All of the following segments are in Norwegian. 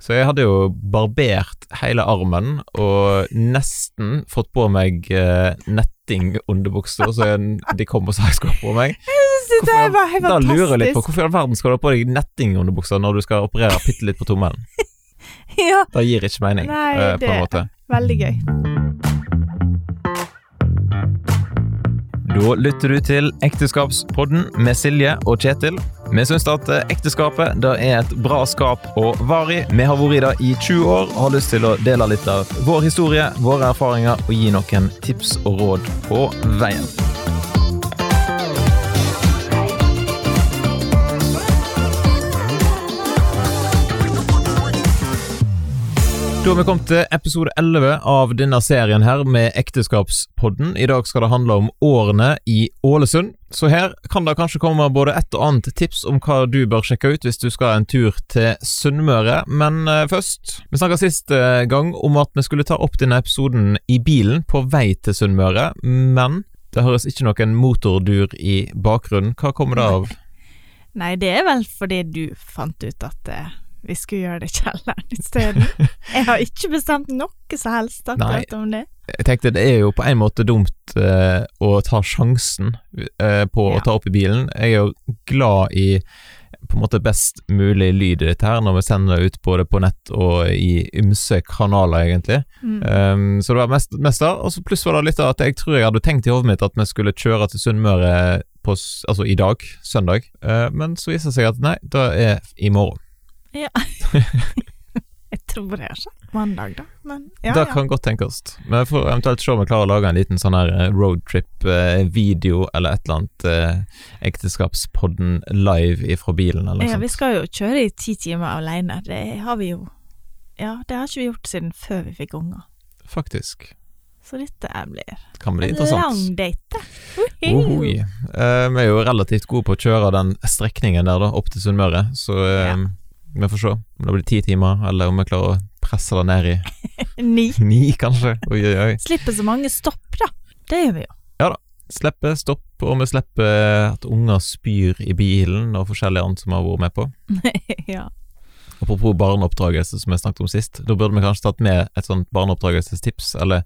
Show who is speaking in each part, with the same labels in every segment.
Speaker 1: Så jeg hadde jo barbert hele armen og nesten fått på meg eh, netting-underbukser, så jeg, de kom og sa jeg skulle ha på meg.
Speaker 2: Det
Speaker 1: Hvorfor-
Speaker 2: der var helt
Speaker 1: Da lurer jeg litt på
Speaker 2: fantastisk.
Speaker 1: hvorfor i all verden skal du ha på deg netting-underbukser når du skal operere bitte litt på tommelen?
Speaker 2: Ja,
Speaker 1: Det gir ikke mening,
Speaker 2: Nei,
Speaker 1: eh, på
Speaker 2: det-
Speaker 1: en måte.
Speaker 2: veldig gøy.
Speaker 1: Da lytter du til Ekteskapspodden med Silje og Kjetil. Vi syns at ekteskapet det er et bra skap og varig. Vi har vært i det i 20 år og har lyst til å dele litt av vår historie, våre erfaringer og gi noen tips og råd på veien. Da har vi kommet til episode 11 av denne serien her med Ekteskapspodden. I dag skal det handle om årene i Ålesund. Så her kan det kanskje komme både et og annet tips om hva du bør sjekke ut hvis du skal en tur til Sunnmøre. Men eh, først Vi snakka sist eh, gang om at vi skulle ta opp denne episoden i bilen på vei til Sunnmøre, men det høres ikke noen motordur i bakgrunnen. Hva kommer det av?
Speaker 2: Nei, det er vel fordi du fant ut at eh, vi skulle gjøre det i kjelleren isteden. Jeg har ikke bestemt noe som helst akkurat om det.
Speaker 1: jeg tenkte det er jo på en måte dumt eh, å ta sjansen eh, på
Speaker 2: Ja.
Speaker 1: å ta opp i bilen. Jeg er jo glad i på en måte best mulig lyd i dette her, når vi sender det ut både på nett og i ymse kanaler, egentlig.
Speaker 2: Mm.
Speaker 1: Um, så det var mest, mest der. Og så pluss var det litt av at jeg tror jeg hadde tenkt i hodet mitt at vi skulle kjøre til Sunnmøre på s- altså i dag, søndag, Eh, men så viser det seg at nei, det er i morgen.
Speaker 2: Jeg tror det har skjedd mandag, da. Men ja,
Speaker 1: det
Speaker 2: ja.
Speaker 1: kan godt tenkes. Men jeg får eventuelt se om jeg klarer å lage en liten sånn her roadtrip-video eh, eller et eller annet eh, ekteskapspodden live ifra bilen eller
Speaker 2: ja
Speaker 1: noe
Speaker 2: vi
Speaker 1: sånt.
Speaker 2: skal jo kjøre i ti timer alene. Det har vi jo Ja, det har ikke vi gjort siden før vi fikk unger.
Speaker 1: Faktisk.
Speaker 2: Så dette er- blir
Speaker 1: Det kan bli
Speaker 2: en
Speaker 1: interessant.
Speaker 2: lang date.
Speaker 1: Ohoi. Eh, vi er jo relativt gode på å kjøre den strekningen der, da, opp til Sunnmøre, så eh, vi får se om det blir ti timer, eller om vi klarer å presse det ned i
Speaker 2: Ni.
Speaker 1: ni, kanskje. Oi, oi, oi.
Speaker 2: Slipper så mange stopp, da. Det gjør vi jo.
Speaker 1: Slippe stopp, og vi slipper at unger spyr i bilen, og forskjellig annet som vi har vært med på.
Speaker 2: ja.
Speaker 1: Apropos barneoppdragelse, som jeg snakket om sist. Da burde vi kanskje tatt med et sånt barneoppdragelsestips, eller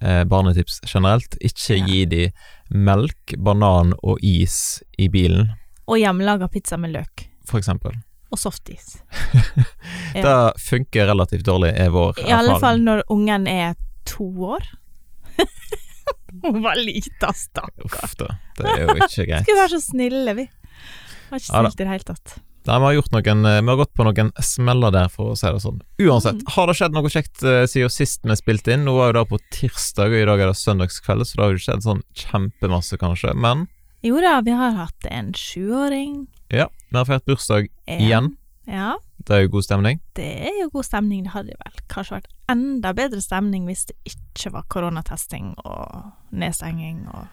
Speaker 1: eh, barnetips generelt. Ikke
Speaker 2: Ja.
Speaker 1: gi de melk, banan og is i bilen,
Speaker 2: Og hjemmelaga pizza med løk.
Speaker 1: for eksempel.
Speaker 2: Og softis. Ja.
Speaker 1: Det funker relativt dårlig, er vår
Speaker 2: I alle fall
Speaker 1: erfaring.
Speaker 2: når ungen er to år. Hun var lita, stakkar.
Speaker 1: Uff da, det er jo ikke greit.
Speaker 2: Skulle være så snille, vi. Var ikke
Speaker 1: Ja da.
Speaker 2: snilt i det hele tatt.
Speaker 1: Nei, vi har gjort noen eh, Vi har gått på noen smeller der, for å si det sånn. Uansett,
Speaker 2: Mm.
Speaker 1: har det skjedd noe kjekt eh, siden sist vi spilte inn? Nå var jo det på tirsdag, og i dag er det søndagskveld, så det har jo ikke skjedd sånn kjempemasse, kanskje. Men
Speaker 2: Jo da, vi har hatt en sjuåring.
Speaker 1: ja, vi har feiret bursdag
Speaker 2: En-
Speaker 1: igjen.
Speaker 2: Ja,
Speaker 1: Det er jo god stemning.
Speaker 2: det er jo god stemning. Det hadde vel kanskje vært enda bedre stemning hvis det ikke var koronatesting og nedstenging og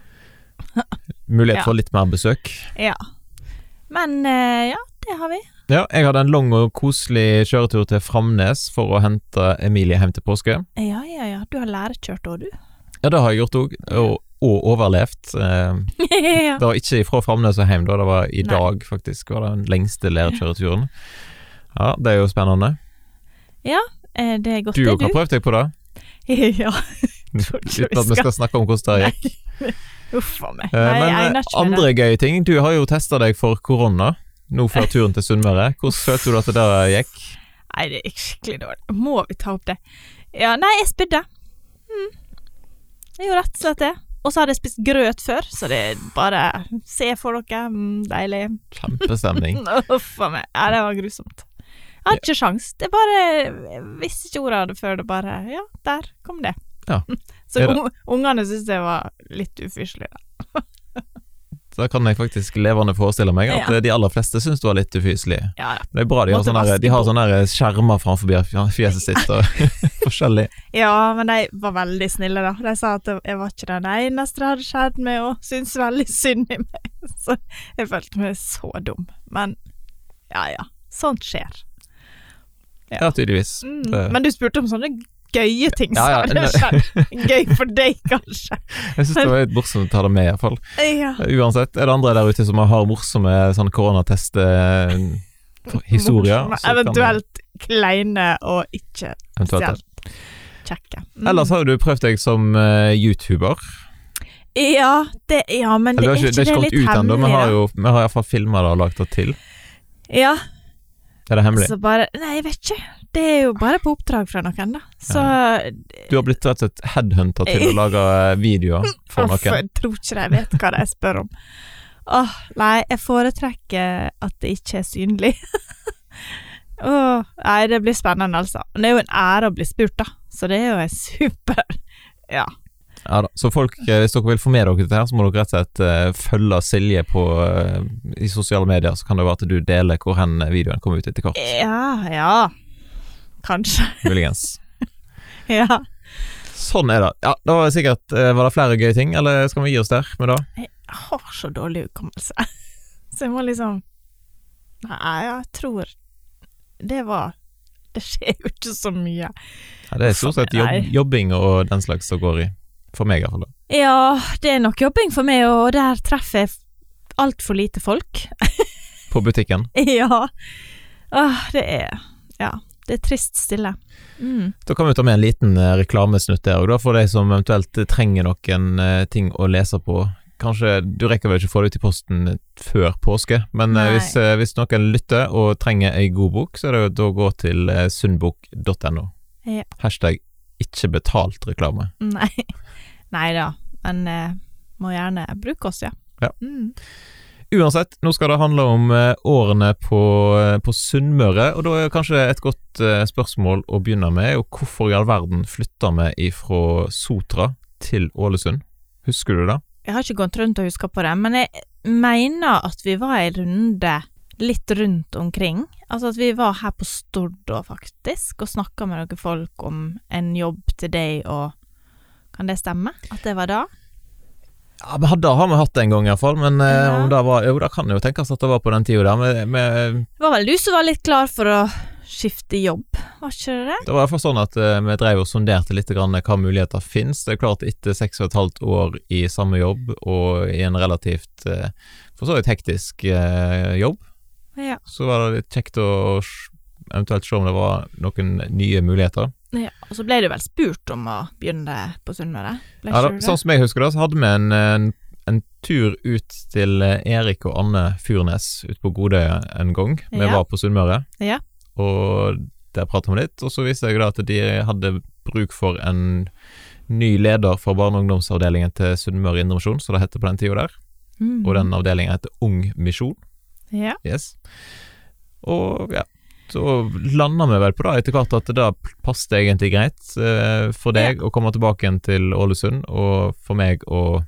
Speaker 1: Mulighet
Speaker 2: Ja.
Speaker 1: for litt mer besøk.
Speaker 2: Ja. Men eh, ja, det har vi.
Speaker 1: Ja, jeg hadde en lang og koselig kjøretur til Framnes for å hente Emilie hjem til påske.
Speaker 2: Ja, ja, ja. Du har lærekjørt òg, du.
Speaker 1: Ja, det har jeg gjort òg, og, og overlevd. Eh,
Speaker 2: ja.
Speaker 1: Det var ikke fra Framnes og hjem, da. Det var i
Speaker 2: Nei.
Speaker 1: dag, faktisk. var det Den lengste lærkjøreturen. Ja, det er jo spennende.
Speaker 2: Eh, Det er godt,
Speaker 1: Du
Speaker 2: det,
Speaker 1: òg har prøvd deg på det,
Speaker 2: ja. ikke vi
Speaker 1: uten at vi skal snakke om hvordan det gikk.
Speaker 2: Uff a meg.
Speaker 1: Eh,
Speaker 2: Nei, jeg
Speaker 1: Men
Speaker 2: egner
Speaker 1: eh,
Speaker 2: ikke meg
Speaker 1: andre gøye ting. Du har jo testa deg for korona nå før turen til Sunnmøre. Hvordan følte du at det der gikk?
Speaker 2: der. Nei, det gikk skikkelig dårlig. Må vi ta opp det? Ja, nei, jeg spydde. Mm. Jeg gjorde rett og slett det. Og så hadde jeg spist grøt før, så det er bare Se for dere. Mm, deilig.
Speaker 1: Kjempestemning.
Speaker 2: Uff a meg. Ja, det var grusomt. Jeg hadde ikke sjans. Det bare Jeg visste ikke ordet av det før det bare Ja, der kom det.
Speaker 1: Ja.
Speaker 2: Så
Speaker 1: Er det-
Speaker 2: un- ungene syntes det var litt ufyselig. da.
Speaker 1: Da kan jeg faktisk levende forestille meg at
Speaker 2: Ja.
Speaker 1: eh, de aller fleste syns du var litt ufyselig.
Speaker 2: Ja, ja.
Speaker 1: Det er bra de har
Speaker 2: Måtte
Speaker 1: sånne,
Speaker 2: vaske
Speaker 1: de har sånne der eh, skjermer framfor fjeset sitt og forskjellig.
Speaker 2: Ja, men de var veldig snille, da. De sa at jeg var ikke den eneste det hadde skjedd med, og syntes veldig synd i meg. Så jeg følte meg så dum. Men ja, ja. Sånt skjer.
Speaker 1: Ja, tydeligvis.
Speaker 2: Mm.
Speaker 1: Det-
Speaker 2: Men du spurte om sånne gøye ting
Speaker 1: Ja,
Speaker 2: som
Speaker 1: ja,
Speaker 2: hadde skjedd. Gøy for deg, kanskje.
Speaker 1: Jeg syns det var litt morsomt å ta det med, iallfall.
Speaker 2: Ja.
Speaker 1: Uansett, er det andre der ute som har morsomme sånn koronatest eh, historier. så kan
Speaker 2: Morsomme,
Speaker 1: du-
Speaker 2: Eventuelt kleine og ikke
Speaker 1: eventuelt det.
Speaker 2: spesielt kjekke. Mm.
Speaker 1: Ellers har jo du prøvd deg som eh, YouTuber.
Speaker 2: Ja, det, ja men det
Speaker 1: Eller,
Speaker 2: er
Speaker 1: du har
Speaker 2: ikke det,
Speaker 1: det
Speaker 2: er
Speaker 1: kommet
Speaker 2: litt
Speaker 1: ut ennå,
Speaker 2: hemmelig.
Speaker 1: vi har
Speaker 2: da.
Speaker 1: jo vi har iallfall filma det og lagt det til.
Speaker 2: Ja,
Speaker 1: Er det hemmelig?
Speaker 2: så bare Nei, jeg vet ikke. Det er jo bare på oppdrag fra noen, da. Så
Speaker 1: Du har blitt rett og slett headhunta til å lage eh, videoer for
Speaker 2: Uff,
Speaker 1: noen.
Speaker 2: jeg tror ikke de vet hva de spør om. Åh, nei, jeg foretrekker at det ikke er synlig. Åh, nei, det blir spennende, altså. Men det er jo en ære å bli spurt, da. Så det er jo en super Ja.
Speaker 1: Ja da. Så folk, eh, hvis dere vil få med dere dette her, så må dere rett og slett eh, følge Silje på, eh, i sosiale medier, så kan det være at du deler hvor hen videoen kommer ut etter hvert.
Speaker 2: Ja, ja. Kanskje.
Speaker 1: Muligens.
Speaker 2: Ja.
Speaker 1: Sånn er det. Ja, da var det sikkert eh, Var det flere gøye ting, eller skal vi gi oss der med det?
Speaker 2: Jeg har så dårlig hukommelse. Så jeg må liksom Nei, jeg tror Det var Det skjer jo ikke så mye.
Speaker 1: Ja, det er stort sett jobb,
Speaker 2: Nei.
Speaker 1: jobbing og den slags som går i. For meg, iallfall.
Speaker 2: Ja, det er nok jobbing for meg, og der treffer jeg altfor lite folk.
Speaker 1: På butikken.
Speaker 2: ja. Åh, det er Ja. Det er trist stille. Mm.
Speaker 1: Da kan vi ta med en liten eh, reklamesnutt der, og da for de som eventuelt trenger noen eh, ting å lese på. Kanskje Du rekker vel ikke få det ut i posten før påske, men eh,
Speaker 2: Nei.
Speaker 1: hvis, eh, hvis noen lytter og trenger ei god bok, så er det jo da å gå til eh, sunnbok.no.
Speaker 2: Ja.
Speaker 1: Hashtag ikke betalt reklame.
Speaker 2: Nei. Nei da. Men eh, må gjerne bruke oss, ja.
Speaker 1: Ja.
Speaker 2: Mm.
Speaker 1: Uansett, nå skal det handle om eh, årene på, eh, på Sunnmøre, og da er kanskje et godt eh, spørsmål å begynne med er jo hvorfor i all verden flytta vi ifra Sotra til Ålesund? Husker du det?
Speaker 2: Jeg har ikke gått rundt og huska på det, men jeg mener at vi var ei runde litt rundt omkring. Altså at vi var her på Stordå, faktisk, og snakka med noen folk om en jobb til deg og Kan det stemme? At det var da?
Speaker 1: Ja, men Det har vi hatt en gang iallfall, men eh,
Speaker 2: Ja.
Speaker 1: om det var, jo, det kan jo tenkes at det var på den tida der. Men, men,
Speaker 2: Det var vel du som var litt klar for å skifte jobb, var ikke det det?
Speaker 1: det var iallfall sånn at eh, vi drev og sonderte litt grann hva muligheter fins. Det er klart, etter seks og et halvt år i samme jobb og i en relativt eh, for så vidt hektisk eh, jobb,
Speaker 2: Ja.
Speaker 1: så var det litt kjekt å s- eventuelt se om det var noen nye muligheter.
Speaker 2: ja. Og så ble du vel spurt om å begynne på Sunnmøre? Ble
Speaker 1: Ja, da,
Speaker 2: ikke du det?
Speaker 1: sånn som jeg husker det, så hadde vi en, en, en tur ut til eh, Erik og Anne Furnes ute på Godøya en gang. Vi
Speaker 2: Ja.
Speaker 1: var på Sunnmøre,
Speaker 2: Ja.
Speaker 1: og der prata vi litt. Og så viste jeg da at de hadde bruk for en ny leder for barne- og ungdomsavdelingen til Sunnmøre Indremisjon, som det het på den tida der.
Speaker 2: Mm.
Speaker 1: Og den avdelingen heter Ung Misjon.
Speaker 2: Ja.
Speaker 1: Yes. Og ja, så landa vi vel på det etter hvert at det da passet egentlig greit eh, for deg å komme tilbake igjen til Ålesund, og for meg å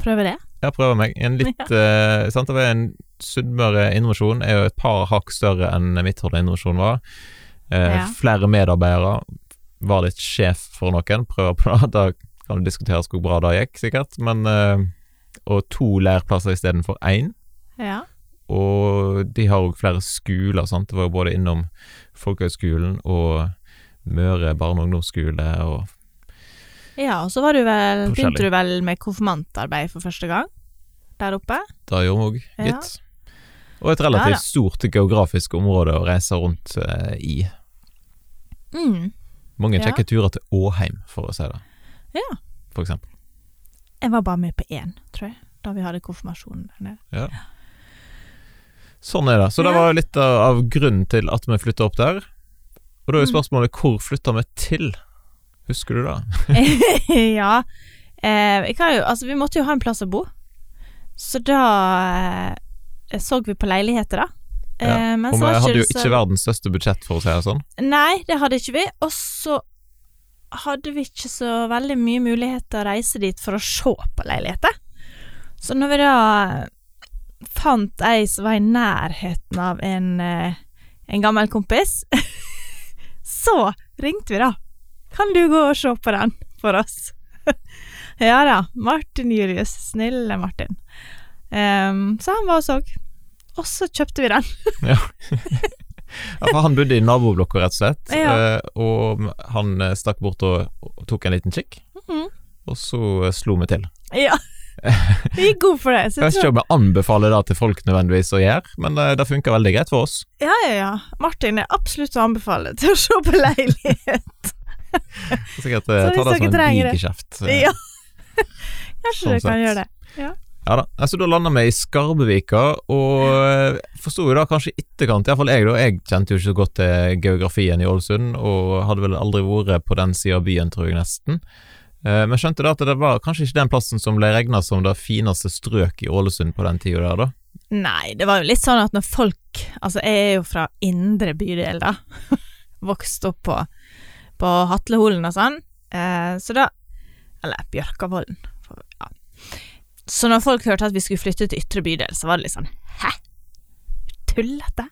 Speaker 2: Prøve det?
Speaker 1: ja, prøve meg. En litt eh, sant, det var en Sunnmøre Innovasjon er jo et par hakk større enn Midthordland Innovasjon var. Eh,
Speaker 2: Ja.
Speaker 1: Flere medarbeidere var litt sjef for noen, prøver på det. Da kan det diskuteres hvor bra det gikk, sikkert, men eh, Og to læreplasser istedenfor én.
Speaker 2: Ja.
Speaker 1: Og de har òg flere skoler, sant. Det var jo både innom Folkehøgskolen og Møre barne- og ungdomsskole og
Speaker 2: Ja, og så var du vel,
Speaker 1: Forskjellig.
Speaker 2: begynte du vel med konfirmantarbeid for første gang der oppe?
Speaker 1: det gjorde vi òg,
Speaker 2: Ja.
Speaker 1: gitt. Og et
Speaker 2: Ja da.
Speaker 1: relativt stort geografisk område å reise rundt eh, i.
Speaker 2: Mm.
Speaker 1: Mange
Speaker 2: Ja.
Speaker 1: kjekke turer til Åheim, for å si det.
Speaker 2: Ja.
Speaker 1: For eksempel.
Speaker 2: Jeg var bare med på én, tror jeg, da vi hadde konfirmasjonen der nede.
Speaker 1: Sånn er det. Så det
Speaker 2: Ja.
Speaker 1: var litt av av grunnen til at vi flytta opp der. Og
Speaker 2: Mm.
Speaker 1: da er jo spørsmålet hvor flytta vi til? Husker du det?
Speaker 2: ja. Eh, vi kan jo, altså, vi måtte jo ha en plass å bo, så da eh, så vi på leiligheter, da. Eh,
Speaker 1: Ja,
Speaker 2: men
Speaker 1: Og
Speaker 2: så
Speaker 1: vi
Speaker 2: var
Speaker 1: hadde jo
Speaker 2: det så-
Speaker 1: ikke verdens største budsjett, for å si det sånn.
Speaker 2: Nei, det hadde ikke vi. Og så hadde vi ikke så veldig mye mulighet til å reise dit for å se på leiligheter. Så når vi da eh, fant ei som var i nærheten av en, eh, en gammel kompis, så ringte vi da. Kan du gå og se på den for oss? ja da. Martin Julius. Snille Martin. Ehm, så han var og så. Og så kjøpte vi den.
Speaker 1: Ja, for han bodde i naboblokka, rett og slett.
Speaker 2: Ja.
Speaker 1: eh, Og han eh, stakk bort og, og tok en liten kikk.
Speaker 2: Mhm.
Speaker 1: Og så eh, slo vi til.
Speaker 2: Ja. Vi gikk god for det.
Speaker 1: Jeg
Speaker 2: Så jeg
Speaker 1: vet ikke
Speaker 2: tror,
Speaker 1: om jeg anbefaler det til folk nødvendigvis å gjøre, men eh, det funker veldig greit for oss.
Speaker 2: ja, ja, ja. Martin er absolutt å anbefale til å se på leilighet.
Speaker 1: Sikkert eh,
Speaker 2: Så hvis
Speaker 1: ta det som
Speaker 2: dere
Speaker 1: en
Speaker 2: trenger det.
Speaker 1: diger kjeft. eh,
Speaker 2: Ja. Kanskje
Speaker 1: Sånn
Speaker 2: du kan
Speaker 1: sett.
Speaker 2: gjøre det.
Speaker 1: Ja da. Altså, da landa vi i Skarbevika, og eh, forsto jo da kanskje i etterkant, iallfall jeg, da. Jeg kjente jo ikke så godt til geografien i Ålesund, og hadde vel aldri vært på den sida av byen, tror jeg nesten. Eh, men skjønte da at det var kanskje ikke den plassen som ble regna som det fineste strøk i Ålesund på den tida der, da.
Speaker 2: Nei, det var jo litt sånn at når folk Altså, jeg er jo fra indre bydel, da. Vokst opp på, på Hatleholen og sånn. Eh, så da Eller Bjørkavollen. for- Ja. Så når folk hørte at vi skulle flytte til ytre bydel, så var det litt sånn Hæ? Tullete?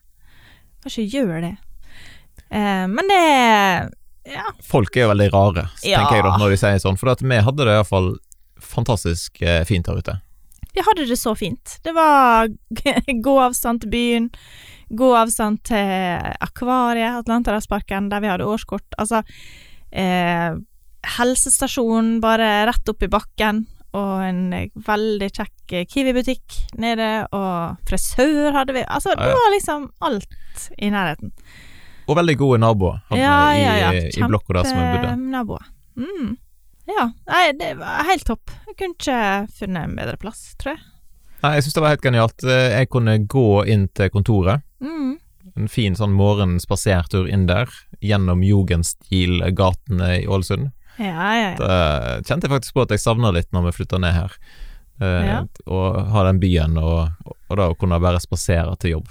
Speaker 2: Hva ikke gjør det? Eh, men det Ja.
Speaker 1: Folk er jo veldig rare, så
Speaker 2: Ja.
Speaker 1: tenker jeg da, når de sier sånn, for at vi hadde det iallfall fantastisk eh, fint der ute.
Speaker 2: Vi hadde det så fint. Det var gåavstand til byen, gåavstand til akvariet, Atlanterhavsparken, der vi hadde årskort. Altså eh, helsestasjonen bare rett opp i bakken, og en eh, veldig kjekk eh, Kiwi-butikk nede, og frisør hadde vi. Altså,
Speaker 1: Ja, ja.
Speaker 2: det var liksom alt i nærheten.
Speaker 1: Og veldig gode naboer hadde
Speaker 2: Ja,
Speaker 1: vi i,
Speaker 2: ja, ja.
Speaker 1: i blokka der som vi bodde.
Speaker 2: Naboer. Mm. Ja. Nei, det var helt topp. Jeg kunne ikke funnet en bedre plass, tror jeg.
Speaker 1: Nei, jeg syns det var helt genialt. Eh, Jeg kunne gå inn til kontoret.
Speaker 2: Mm.
Speaker 1: En fin sånn morgenspasertur inn der, gjennom jugendstilgatene i Ålesund.
Speaker 2: Ja, ja, ja.
Speaker 1: Det kjente jeg faktisk på at jeg savna litt når vi flytta ned her. Eh,
Speaker 2: Ja.
Speaker 1: Og ha den byen, og, og da å kunne bare spasere til jobb.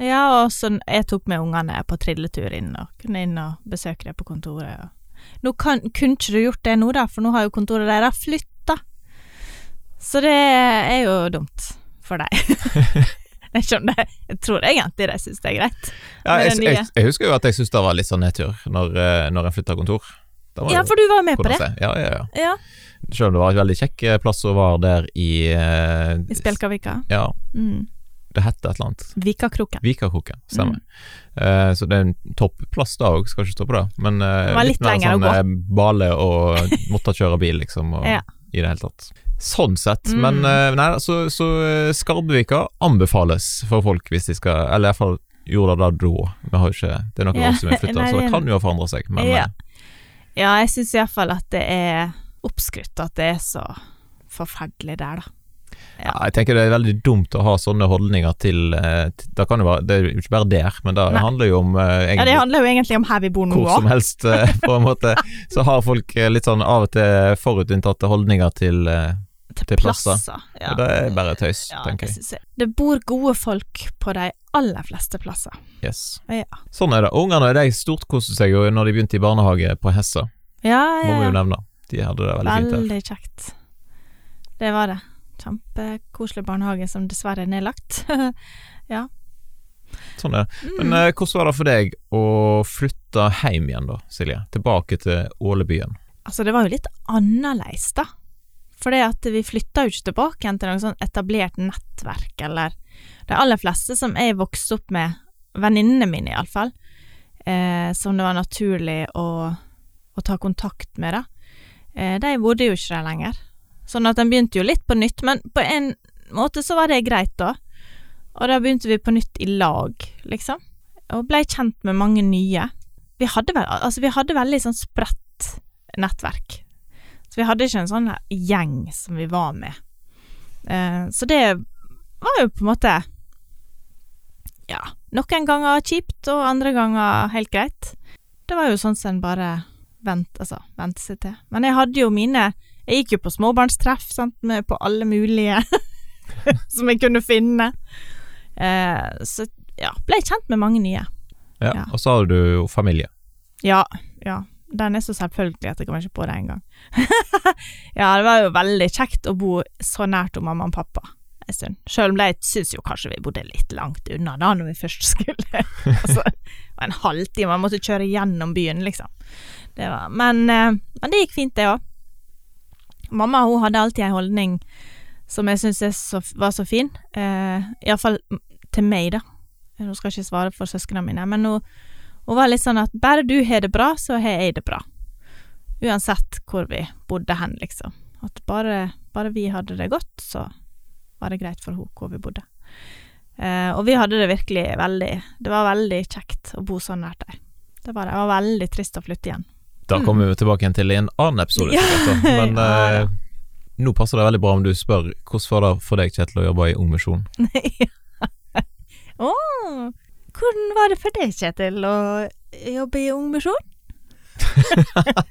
Speaker 2: Ja, og så jeg tok med ungene på trilletur inn og kunne inn og besøke dem på kontoret. Og. Nå kan, kunne ikke du gjort det nå, da, for nå har jo kontoret deres flytta. Så det er jo dumt for deg. jeg skjønner Jeg tror egentlig de syns det er greit.
Speaker 1: Ja,
Speaker 2: Med
Speaker 1: jeg,
Speaker 2: den nye.
Speaker 1: jeg, jeg husker jo at jeg syntes det var litt sånn nedtur når, eh, når jeg flytta kontor. Det var
Speaker 2: Ja,
Speaker 1: jo-
Speaker 2: for du var jo med på
Speaker 1: kunne
Speaker 2: det.
Speaker 1: se. Ja, ja, ja.
Speaker 2: Ja,
Speaker 1: Selv om det var en veldig kjekk eh, plass å være der i, eh,
Speaker 2: I Spjelkavika.
Speaker 1: Ja,
Speaker 2: Mm.
Speaker 1: det het et eller annet.
Speaker 2: Vikakroken.
Speaker 1: Vikakroken, stemmer. Eh, så det er en topp plass da òg, skal ikke stå på det. Men eh,
Speaker 2: Det var litt
Speaker 1: litt mer
Speaker 2: lenger å
Speaker 1: sånn eh, bale og måtte kjøre bil, liksom. Og,
Speaker 2: Ja.
Speaker 1: I det hele tatt. Sånn sett.
Speaker 2: Mm.
Speaker 1: Men eh, nei, så, så eh, Skarbevika anbefales for folk hvis de skal Eller iallfall gjorde det da. Vi har jo ikke, det er noen
Speaker 2: Ja,
Speaker 1: år siden vi flytta,
Speaker 2: nei,
Speaker 1: så det
Speaker 2: det-
Speaker 1: kan jo ha forandra seg. Men
Speaker 2: Ja.
Speaker 1: eh,
Speaker 2: Ja, jeg syns iallfall at det er oppskrytt at det er så forferdelig der, da.
Speaker 1: Ja,
Speaker 2: Ja.
Speaker 1: jeg tenker det er veldig dumt å ha sånne holdninger til, eh, til det, kan jo være, det er jo ikke bare der, men det
Speaker 2: Nei.
Speaker 1: handler jo om eh,
Speaker 2: Ja,
Speaker 1: egentlig
Speaker 2: det handler jo egentlig om her vi bor nå
Speaker 1: hvor
Speaker 2: òg.
Speaker 1: som helst, eh, på en måte. Så har folk eh, litt sånn av og til forutinntatte holdninger til eh, til plasser.
Speaker 2: Ja.
Speaker 1: Det er bare tøys,
Speaker 2: Ja, det
Speaker 1: tenker jeg.
Speaker 2: synes jeg. Det bor gode folk på de aller fleste plasser.
Speaker 1: Yes.
Speaker 2: Ja.
Speaker 1: Sånn er det. Ungene de storkoste seg jo når de begynte i barnehage på Hessa,
Speaker 2: Ja,
Speaker 1: må vi jo nevne. De hadde det veldig fint der.
Speaker 2: Veldig kjekt. Det var det. Kjempekoselig barnehage som dessverre er nedlagt.
Speaker 1: Sånn er det. Men
Speaker 2: Mm.
Speaker 1: eh, hvordan var det for deg å flytte hjem igjen da, Silje? Tilbake til Ålebyen.
Speaker 2: Altså, det var jo litt annerledes, da. For det at vi flytta jo ikke tilbake igjen til noe sånn etablert nettverk, eller De aller fleste som jeg vokste opp med, venninnene mine iallfall, eh, som det var naturlig å, å ta kontakt med, da, eh, de bodde jo ikke der lenger. Sånn at den begynte jo litt på nytt, men på en måte så var det greit, da. Og da begynte vi på nytt i lag, liksom. Og blei kjent med mange nye. Vi hadde, vel, altså, vi hadde veldig sånn spredt nettverk. Så vi hadde ikke en sånn gjeng som vi var med. Eh, så det var jo på en måte Ja, noen ganger kjipt, og andre ganger helt greit. Det var jo sånn som en bare vent, altså, vente seg til. Men jeg hadde jo mine Jeg gikk jo på småbarnstreff, sant, med på alle mulige som jeg kunne finne. Eh, så ja, ble kjent med mange nye.
Speaker 1: Ja.
Speaker 2: Ja.
Speaker 1: Og så har du jo familie.
Speaker 2: Ja, ja. Den er så selvfølgelig at jeg kommer ikke på det engang. ja, det var jo veldig kjekt å bo så nært om mamma og pappa en stund. Selv om de syns jo kanskje vi bodde litt langt unna da, når vi først skulle. altså, det var en halvtime, man måtte kjøre gjennom byen, liksom. Det var, men, eh, men det gikk fint, det òg. Mamma hun hadde alltid en holdning som jeg syns var så fin. Eh, Iallfall til meg, da. Hun skal ikke svare for søsknene mine, men hun hun var litt sånn at bare du har det bra, så har jeg det bra. Uansett hvor vi bodde hen, liksom. At bare Bare vi hadde det godt, så var det greit for henne hvor vi bodde. Eh, og vi hadde det virkelig veldig Det var veldig kjekt å bo så nært dem. Det var, det. det var veldig trist å flytte igjen.
Speaker 1: Da kommer vi tilbake igjen til i en annen episode,
Speaker 2: Mm. Ja.
Speaker 1: sikkert, da. men
Speaker 2: Ja, da.
Speaker 1: eh, nå passer det veldig bra om du spør hvordan var det for deg, Kjetil, å jobbe i Ung Misjon?
Speaker 2: Å, hvordan var det for deg, Kjetil, å jobbe i Ung Misjon?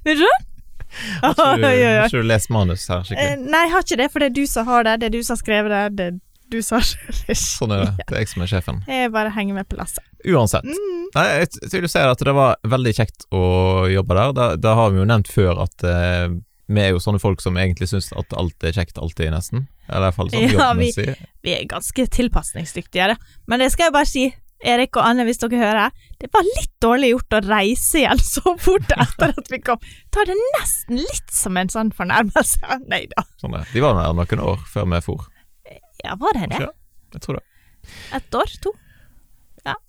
Speaker 2: Vil du? Oi,
Speaker 1: Har
Speaker 2: oi, oi.
Speaker 1: ikke du lest manus her
Speaker 2: Eh,
Speaker 1: skikkelig?
Speaker 2: Nei, jeg har ikke det, for det er du som har det. Det er du som har skrevet det. Det er du som har skrevet
Speaker 1: Sånn er det. Det er jeg som er sjefen.
Speaker 2: det. Jeg bare henger med på lasset.
Speaker 1: Uansett.
Speaker 2: Mm.
Speaker 1: Nei, jeg t- vil jo si at det var veldig kjekt å jobbe der. Da, da har vi jo nevnt før at eh, vi er jo sånne folk som egentlig syns at alt er kjekt alltid, nesten. Eller i hvert fall sånn
Speaker 2: Ja, vi-
Speaker 1: jobbmessig.
Speaker 2: Vi er ganske tilpasningsdyktige, da. men det skal jeg bare si. Erik og Anne, hvis dere hører, det var litt dårlig gjort å reise igjen så fort etter at vi kom. Ta det nesten litt som en sånn fornærmelse. Nei da.
Speaker 1: Sånn er. De var der noen år før vi for.
Speaker 2: Ja, var det det?
Speaker 1: Ja, jeg tror det.
Speaker 2: Ett år? To?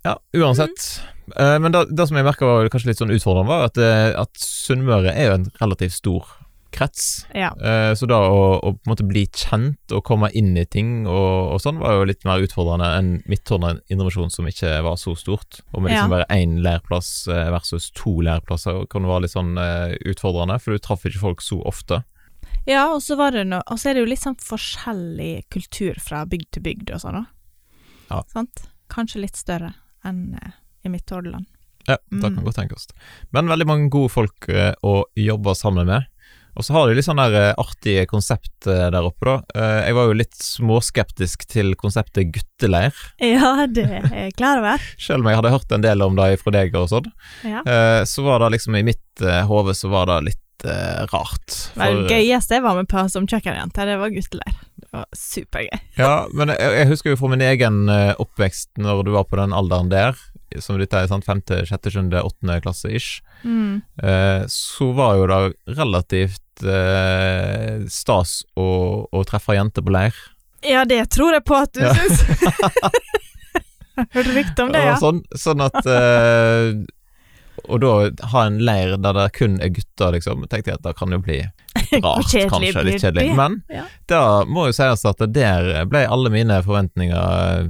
Speaker 1: Ja, uansett.
Speaker 2: Mm.
Speaker 1: Eh, men det, det som jeg merka var kanskje litt sånn utfordrende, var at, eh, at Sunnmøre er jo en relativt stor krets.
Speaker 2: Ja.
Speaker 1: Eh, Så da å, å på en måte bli kjent og komme inn i ting og, og sånn, var jo litt mer utfordrende enn Midtårnet Indremisjon, som ikke var så stort. Og med liksom bare én leirplass eh, versus to leirplasser kan det være litt sånn eh, utfordrende, for du traff ikke folk så ofte.
Speaker 2: Ja, og så var det noe, og så er det jo litt sånn forskjellig kultur fra bygd til bygd og sånn òg.
Speaker 1: Ja.
Speaker 2: Sant? Kanskje litt større enn eh, i Midtordland.
Speaker 1: Ja, det kan
Speaker 2: Mm.
Speaker 1: godt tenkes. Men veldig mange gode folk eh, å jobbe sammen med. Og så har de litt sånn der eh, artige konsept eh, der oppe, da. Eh, Jeg var jo litt småskeptisk til konseptet gutteleir,
Speaker 2: Ja, det er jeg klar over.
Speaker 1: selv om jeg hadde hørt en del om det fra deg og sånn.
Speaker 2: Ja.
Speaker 1: Eh, så var det liksom i mitt eh, hode så var det litt eh, rart.
Speaker 2: Men
Speaker 1: For-
Speaker 2: det gøyeste jeg var med på som kjøkkenjente, det var gutteleir. Det var supergøy.
Speaker 1: Ja, men jeg, jeg husker jo fra min egen eh, oppvekst når du var på den alderen der, som dette er sant, femte, sjette, sjunde, åttende klasse ish,
Speaker 2: Mm.
Speaker 1: eh, så var jo det relativt eh, stas å, å treffe jenter på leir.
Speaker 2: Ja, det tror jeg på at du
Speaker 1: Ja.
Speaker 2: syns. Hørte rykte om det, ja.
Speaker 1: Og sånn, sånn at eh, Og da ha en leir der det kun er gutter, liksom, tenkte jeg at det kan jo bli rart,
Speaker 2: Kjedelig
Speaker 1: kanskje.
Speaker 2: blir
Speaker 1: Litt kjedelig.
Speaker 2: det.
Speaker 1: Men
Speaker 2: Ja.
Speaker 1: da må jo sies at der ble alle mine forventninger eh,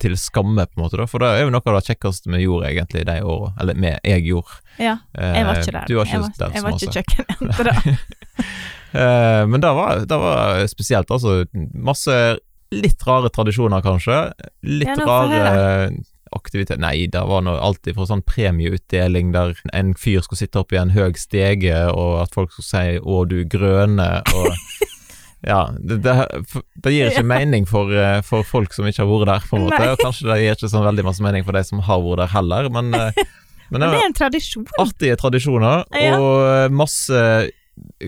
Speaker 1: til skamme, på en måte. da For det er jo noe av det kjekkeste vi gjorde egentlig de åra. Eller vi, jeg gjorde.
Speaker 2: ja.
Speaker 1: Eh,
Speaker 2: Jeg var ikke der.
Speaker 1: Du var ikke
Speaker 2: jeg var,
Speaker 1: den
Speaker 2: jeg
Speaker 1: som
Speaker 2: var
Speaker 1: var
Speaker 2: ikke
Speaker 1: så-
Speaker 2: kjøkkenjente da.
Speaker 1: Eh, Men det var, det var spesielt, altså. Masse litt rare tradisjoner, kanskje. Litt
Speaker 2: Ja, nå får jeg
Speaker 1: rare aktiviteter Nei, det var noe alltid fra sånn premieutdeling der en fyr skulle sitte oppe i en høg stege, og at folk skulle si 'Å, du grønne', og Ja, det, det, det gir ikke mening for, eh, for folk som ikke har vært der, på en måte.
Speaker 2: Nei.
Speaker 1: Og kanskje det gir ikke sånn veldig masse mening for de som har vært der heller, men, eh, men
Speaker 2: Men
Speaker 1: det
Speaker 2: det
Speaker 1: var
Speaker 2: er en tradisjon.
Speaker 1: artige tradisjoner
Speaker 2: Ja.
Speaker 1: og masse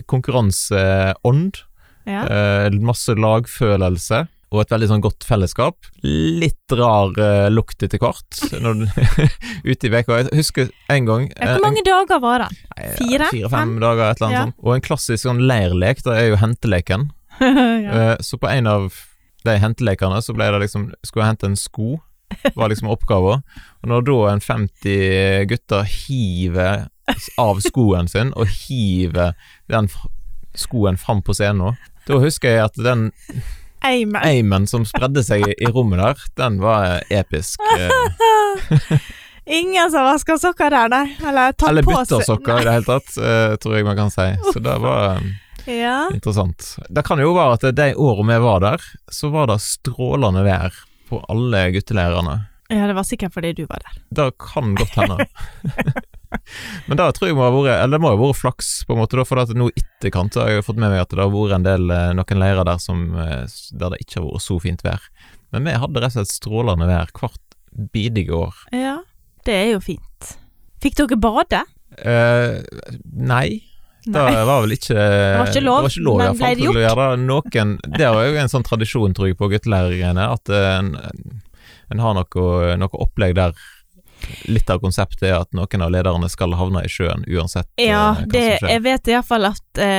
Speaker 1: konkurranseånd.
Speaker 2: Ja.
Speaker 1: Eh, masse lagfølelse og et veldig sånn godt fellesskap. Litt rar eh, lukt etter hvert når du, ute i veka. Jeg husker en gang eh,
Speaker 2: Ja, Hvor mange dager var den? Fire?
Speaker 1: Fire-fem dager, et eller annet
Speaker 2: Ja.
Speaker 1: sånt. Og en klassisk sånn leirlek, det er jo henteleken.
Speaker 2: ja.
Speaker 1: Eh, så på en av de hentelekene så ble det liksom Skulle jeg hente en sko, var liksom oppgaven. Og når da en 50 gutter hiver av skoen sin, og hiver den f- skoen fram på scenen, da husker jeg at den
Speaker 2: Amen.
Speaker 1: eimen som spredde seg i, i rommet der, den var eh, episk. Eh,
Speaker 2: Ingen som vasker sokker der, nei. Eller tatt
Speaker 1: eller
Speaker 2: på seg.
Speaker 1: buttersokker i det hele tatt, eh, tror jeg man kan si. Så det var eh,
Speaker 2: Ja.
Speaker 1: interessant. Det kan jo være at de årene vi var der, så var det strålende vær på alle gutteleirene.
Speaker 2: ja, det var sikkert fordi du var der.
Speaker 1: Det kan godt hende. Men det tror jeg må ha vært Eller det må ha vært flaks, på en måte, da, for at nå i etterkant så har jeg jo fått med meg at det har vært en del eh, noen leirer der som eh, s- der det ikke har vært så fint vær. Men vi hadde rett og slett strålende vær hvert bidige år.
Speaker 2: Ja. Det er jo fint. Fikk dere bade?
Speaker 1: Eh, nei. Det
Speaker 2: Nei.
Speaker 1: var vel ikke Det
Speaker 2: var ikke lov,
Speaker 1: det var ikke lov
Speaker 2: men
Speaker 1: i hvert fall,
Speaker 2: ble det
Speaker 1: til å gjøre det. Noen, det er jo en sånn tradisjon, tror jeg, på guttelæregreiene, at eh, en, en har noe, noe opplegg der litt av konseptet er at noen av lederne skal havne i sjøen uansett eh,
Speaker 2: Ja,
Speaker 1: hva
Speaker 2: det,
Speaker 1: som skjer.
Speaker 2: jeg vet iallfall at eh,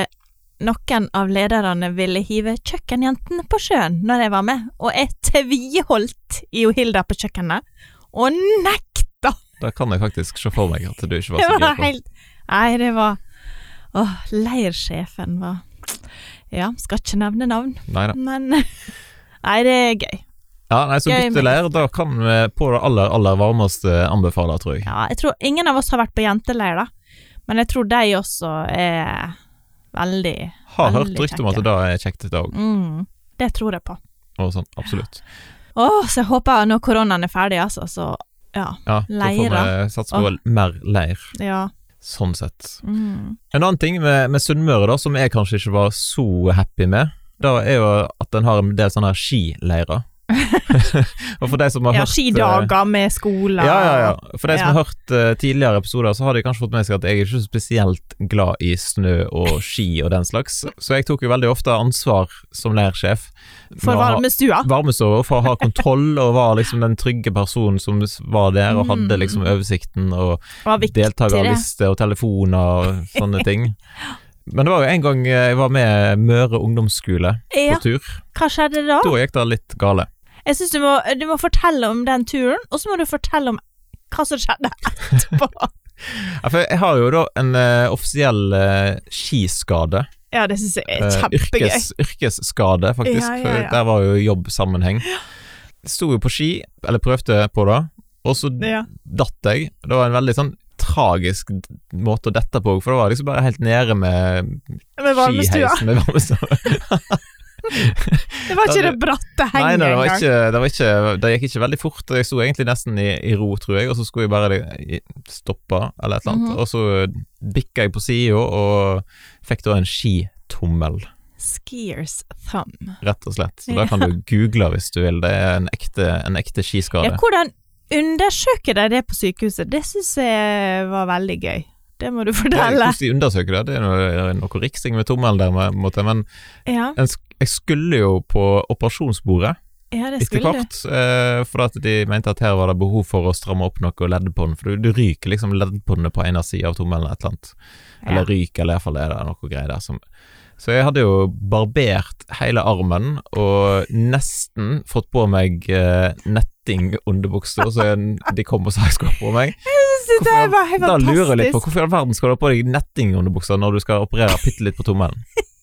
Speaker 2: noen av lederne ville hive kjøkkenjentene på sjøen når jeg var med, og jeg tviholdt i Hilda på kjøkkenet. Og nekta!
Speaker 1: Da kan jeg faktisk se for meg at du ikke var
Speaker 2: Det
Speaker 1: så
Speaker 2: var
Speaker 1: gira på.
Speaker 2: helt Nei, det var Åh, leirsjefen var Ja, skal ikke nevne navn,
Speaker 1: Nei da.
Speaker 2: men Nei, det er gøy.
Speaker 1: Ja, nei, så
Speaker 2: Gøy med
Speaker 1: bytteleir, da kan vi på det aller, aller varmeste anbefale, tror jeg.
Speaker 2: Ja, jeg tror ingen av oss har vært på jenteleir, da. Men jeg tror de også er veldig
Speaker 1: Har
Speaker 2: veldig
Speaker 1: hørt rykte om at
Speaker 2: kjekke.
Speaker 1: det da er kjekt i dag,
Speaker 2: mm, Det tror jeg på.
Speaker 1: og sånn, absolutt.
Speaker 2: Å, så jeg håper når koronaen er ferdig, altså, så ja.
Speaker 1: Ja, da får vi
Speaker 2: Leirer.
Speaker 1: satse på mer leir,
Speaker 2: ja.
Speaker 1: sånn sett.
Speaker 2: Mm.
Speaker 1: En annen ting med, med Sunnmøre, da, som jeg kanskje ikke var så happy med, da er jo at den har en del sånne her skileirer. og for de som har
Speaker 2: ja
Speaker 1: hørt eh,
Speaker 2: skidager med skoler.
Speaker 1: Ja, ja, ja. For de som
Speaker 2: Ja.
Speaker 1: har hørt eh, tidligere episoder, så har de kanskje fått med seg at jeg er ikke så spesielt glad i snø og ski og den slags, så jeg tok jo veldig ofte ansvar som leirsjef. med
Speaker 2: For
Speaker 1: å ha-
Speaker 2: varmestua.
Speaker 1: varmestua for å ha kontroll, og var liksom den trygge personen som s- var der og
Speaker 2: Mm.
Speaker 1: hadde liksom oversikten og
Speaker 2: Var viktig, det.
Speaker 1: deltakerliste og telefoner og sånne ting. Men det var jo en gang eh, jeg var med Møre ungdomsskole
Speaker 2: Ja,
Speaker 1: på tur.
Speaker 2: hva skjedde da?
Speaker 1: Da gikk det litt gale.
Speaker 2: Jeg syns du, må- du må fortelle om den turen, og så må du fortelle om hva som skjedde etterpå.
Speaker 1: Ja, for jeg har jo da en eh, offisiell eh, skiskade.
Speaker 2: ja, det syns jeg er
Speaker 1: Eh,
Speaker 2: kjempegøy.
Speaker 1: yrkes, yrkesskade, faktisk.
Speaker 2: Ja, ja,
Speaker 1: for
Speaker 2: ja.
Speaker 1: Der var jo jobbsammenheng. Sto jo på ski, eller prøvde på det, og så
Speaker 2: Ja.
Speaker 1: datt jeg. Det var en veldig sånn tragisk d- måte å dette på, for det var liksom bare helt nede med
Speaker 2: Med varmestua.
Speaker 1: skiheisen. Med varmestua.
Speaker 2: Det var
Speaker 1: Ja,
Speaker 2: ikke
Speaker 1: det-
Speaker 2: det bratte
Speaker 1: Nei,
Speaker 2: henget
Speaker 1: nei, det var
Speaker 2: engang.
Speaker 1: ikke, det var ikke Det gikk ikke veldig fort. og Jeg sto egentlig nesten i, i ro, tror jeg, og så skulle jeg bare i- stoppe, eller et eller annet.
Speaker 2: Mhm.
Speaker 1: Og så bikka jeg på sida og fikk da en skitommel.
Speaker 2: Skiers thumb.
Speaker 1: rett og slett. Så da kan du google hvis du vil. Det er en ekte, en ekte
Speaker 2: Ja,
Speaker 1: skiskade.
Speaker 2: hvordan undersøker de det på sykehuset? Det syns jeg var veldig gøy. Det må du fortelle.
Speaker 1: Hvordan de undersøker det? Det er noe, noe riksing med tommelen der, på en måte. men
Speaker 2: Ja,
Speaker 1: en sk- jeg skulle jo på operasjonsbordet
Speaker 2: ja det
Speaker 1: etter
Speaker 2: skulle du.
Speaker 1: hvert, eh, for at de mente at her var det behov for å stramme opp noe leddbånd, for du, du ryker liksom leddbåndet på ene sida av tommelen eller et eller annet. Eller
Speaker 2: Ja.
Speaker 1: ryker, eller iallfall er det noe greier der som Så jeg hadde jo barbert hele armen og nesten fått på meg eh, netting underbukser, så jeg, de kom og sa jeg skulle ha på meg.
Speaker 2: Det der var helt
Speaker 1: Da lurer jeg litt på
Speaker 2: fantastisk.
Speaker 1: hvorfor i all verden skal du ha på deg netting underbukser når du skal operere bitte litt på tommelen.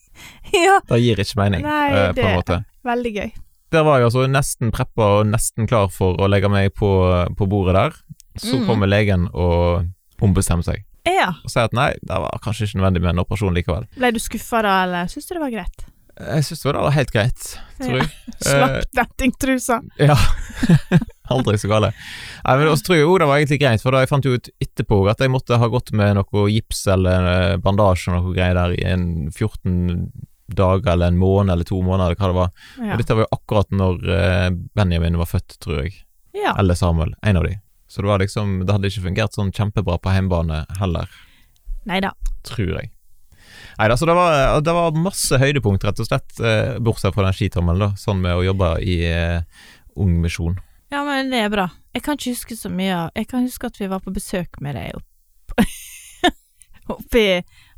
Speaker 2: Ja,
Speaker 1: Det gir ikke mening,
Speaker 2: Nei,
Speaker 1: eh, på en
Speaker 2: det-
Speaker 1: måte.
Speaker 2: veldig gøy.
Speaker 1: Der var jeg altså nesten preppa og nesten klar for å legge meg på, på bordet der. Så
Speaker 2: Mm.
Speaker 1: kommer legen og ombestemmer seg
Speaker 2: Ja.
Speaker 1: og sier at nei, det var kanskje ikke nødvendig med en operasjon likevel.
Speaker 2: Ble du skuffa da, eller syns du det var greit?
Speaker 1: Jeg syns det var helt greit, tror jeg.
Speaker 2: Slapp nettingtrusa.
Speaker 1: Ja. Aldri så gale. Nei, men også tror jeg jo det var egentlig greit, for da jeg fant jo ut etterpå at jeg måtte ha gått med noe gips eller eh, bandasje og noe greier der i en 14 dager eller en måned eller to måneder eller hva det var.
Speaker 2: Ja.
Speaker 1: Og dette var jo akkurat når eh, Benjamin var født, tror jeg.
Speaker 2: ja.
Speaker 1: Eller Samuel, en av de. Så det var liksom, det hadde ikke fungert sånn kjempebra på hjemmebane heller,
Speaker 2: Nei da.
Speaker 1: tror jeg. Nei, altså det var, det var masse høydepunkt, rett og slett, eh, bortsett fra den skitommelen, da. Sånn med å jobbe i eh, Ung Misjon.
Speaker 2: Ja, men det er bra. Jeg kan ikke huske så mye av Jeg kan huske at vi var på besøk med deg opp oppi